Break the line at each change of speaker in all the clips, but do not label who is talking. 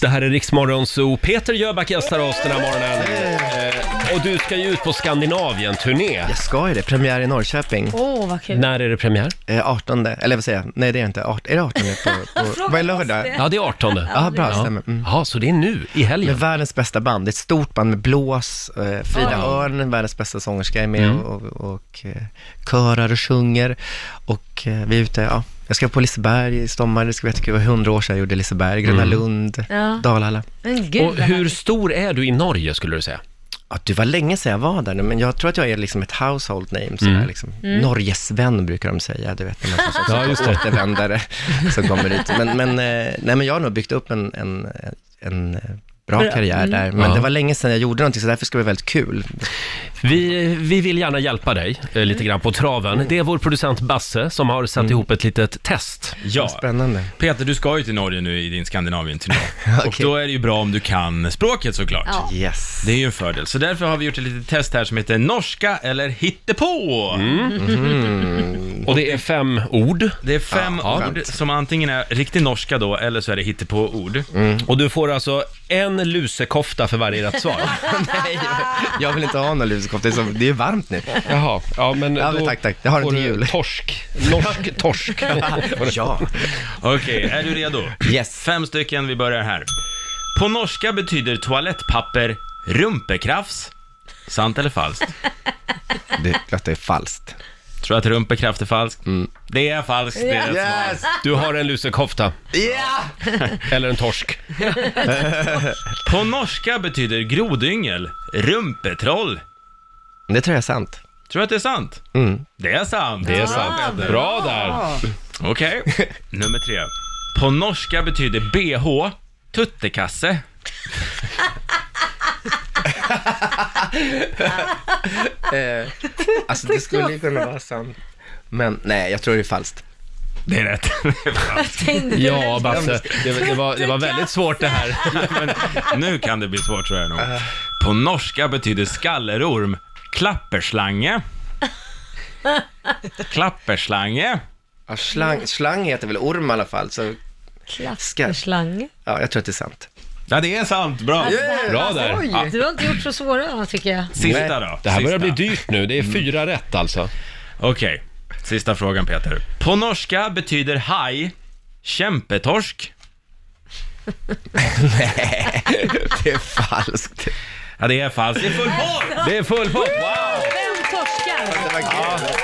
Det här är Riksmorgon Zoo. Peter Jöback gästar oss den här morgonen. Eh, och du ska ju ut på Skandinavien-turné.
Jag ska ju det, premiär i Norrköping.
Åh, vad kul.
När är det premiär?
Eh, 18, eller vad säger jag? Nej det är inte, Art, är det 18 på, på, vad är lördag?
Ja, det är 18.
Ja, bra, stämmer. Mm.
Jaha, så det är nu, i
Med
helgen.
världens bästa band, det är ett stort band med blås, eh, Frida Örn, världens bästa sångerska är med och, och, och eh, körar och sjunger. Och eh, vi är ute, ja, jag ska på Liseberg i sommar, det ska bli jättekul, det var hundra år sedan jag gjorde Liseberg, Gröna Lund,
Ja.
Dalhalla.
Men gud,
Och
vad
hur
härligt.
stor är du i Norge skulle du säga?
Ja, det var länge sedan jag var där nu, men jag tror att jag är liksom ett household name. Sådär, liksom. Norgesvän brukar de säga, du vet, när man som
Mm. Ja, just det.
återvändare som kommer dit. Men, men, eh, nej, men jag har nog byggt upp en, en, en eh, bra Mm. karriär där, men
Ja.
det var länge sedan jag gjorde någonting, så därför ska det bli väldigt kul.
Vi, vi vill gärna hjälpa dig eh, lite grann på traven. Det är vår producent Basse som har satt ihop ett litet test.
Ja,
Spännande.
Peter du ska ju till Norge nu i din Skandinavien-turné. Och
Okej.
då är det ju bra om du kan språket såklart.
Ja.
Yes.
Det är ju en fördel. Så därför har vi gjort ett litet test här som heter Norska eller hittepå.
Och det är fem ord.
Det är fem
Ja,
ord som antingen är riktig norska då, eller så är det hittepå-ord.
Och du får alltså en lusekofta för varje rätt svar.
Nej, jag vill inte ha någon lusekofta, det är så- det är ju varmt nu.
Jaha, ja men
Ja, men
då
tack, tack. Det har
får
inte
du
jul.
Torsk. Norsk torsk.
Ja.
Okej, är du redo?
Yes.
Fem stycken, vi börjar här. På norska betyder toalettpapper rumpekrafs. Sant eller falskt?
Det låter ju falskt.
Tror att rumpekraft är falskt? Det är falskt, det är rätt svar.
Yes!
Du har en lusekofta.
Yeah!
Eller en torsk.
På norska betyder grodyngel rumpetroll.
Det tror jag är sant.
Tror du att det är sant?
Mm.
Det är sant.
Det är sant. Bra där.
Okej, nummer tre. På norska betyder bh tuttekasse.
Alltså det skulle ju kunna vara sant. Men nej, jag tror det är falskt.
Det är rätt.
Tänkte du?
Ja, Basse. Det, det, var, det var väldigt svårt det här.
Men nu kan det bli svårt tror jag nog. På norska betyder skallerorm klapperslange. Klapperslange.
Ja, slang, slang heter väl orm i alla fall, så
Klapperslang.
ja, jag tror att det är sant.
Ja, det är sant. Bra.
Bra där.
Ja. Du har inte gjort så svåra, tycker jag.
Sista då.
Det här börjar bli
Sista.
dyrt nu.
Mm.
Det är fyra rätt alltså.
Okej, sista frågan Peter. På norska betyder haj kämpetorsk.
Det är falskt.
Ja, det är falskt. Det är full pott!
Det är full pott. Wow!
Vem torskar?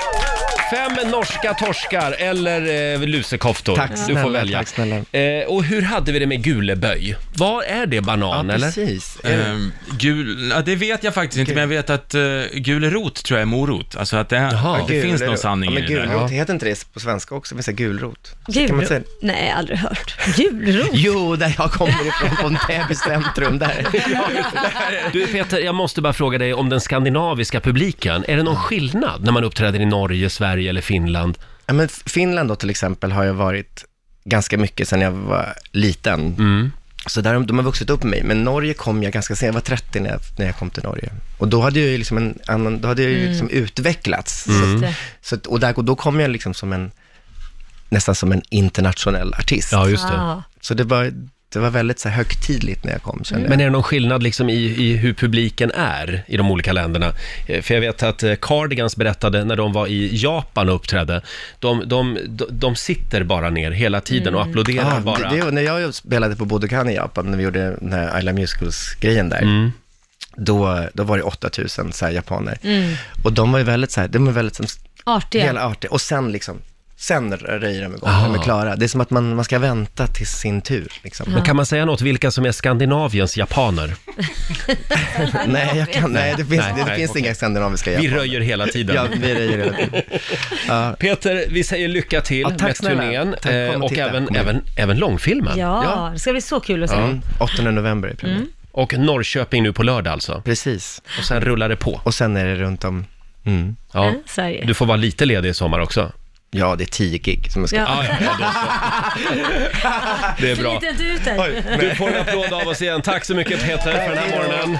Fem norska torskar eller eh, lusekoftor.
Tack
du
snälla,
får välja.
tack snälla.
Eh, och hur hade vi det med guleböj? Var är det banan
Ja,
eller?
precis.
Ehm, gul, ja, det vet jag faktiskt inte, men jag vet att uh, gul rot tror jag är morot. Alltså att det,
Jaha.
att det finns någon sanning
ja, men
i det där.
gulrot, heter inte det på svenska också? Det finns det gulrot? Kan man säga-
Gulrot? Nej, aldrig hört. Gulrot?
Jo, där jag kommer ifrån, från Täby centrum där.
Du Peter, jag måste bara fråga dig om den skandinaviska publiken. Är det någon skillnad när man uppträder i Norge, Sverige eller Finland?
Ja, men Finland då till exempel har jag varit ganska mycket sedan jag var liten. Så där, har de- de har vuxit upp mig. Men Norge kom jag ganska sent, jag var 30 när jag, när jag kom till Norge. Och då hade jag ju liksom en annan, då hade jag ju liksom utvecklats. Så,
det.
så, att- och där, och då kom jag liksom som en, nästan som en internationell artist.
Ja, just det.
Ah.
Så det var, det var väldigt så här, högtidligt när jag kom, kände
Men är det någon skillnad liksom i, i hur publiken är i de olika länderna? Eh, För jag vet att eh, Cardigans berättade när de var i Japan och uppträdde, de, de, de, de sitter bara ner hela tiden och
jag.
applåderar
Ja,
bara.
Mm. Ah, det, det, var när jag spelade på Budokan i Japan, när vi gjorde den här I Love Musicals-grejen där, då, då var det 8000 så här, japaner. Och de var ju väldigt så här, de var väldigt som,
Artiga.
hela artiga. Och sen liksom, sen röjer de igång, de är klara. Det är som att man, man ska vänta till sin tur. Liksom.
Men kan man säga något vilka som är Skandinaviens japaner?
Nej, jag kan, nej, det finns,
Nej,
det,
nej,
finns
okej.
inga skandinaviska
Vi
japaner.
röjer hela tiden.
Ja, vi röjer hela tiden.
Peter, vi säger lycka till
Ja, tack
med
snälla.
turnén
Tack, kom
eh,
och
och
titta.
även,
Kom igen.
även, även långfilmen.
Ja, det ska bli så kul att se.
Mm. 8 november är premiär.
Och Norrköping nu på lördag alltså.
Precis.
Och sen rullar det på.
Och sen är det runt om, mm.
Ja.
Mm, Sverige.
Du får vara lite ledig i sommar också.
ja, det är 10 gig som jag ska
Ja.
Ja, ja, ja, då så. Det är bra.
Sliter inte ut dig.
Du får en applåd av oss igen. Tack så mycket Peter för den här morgonen.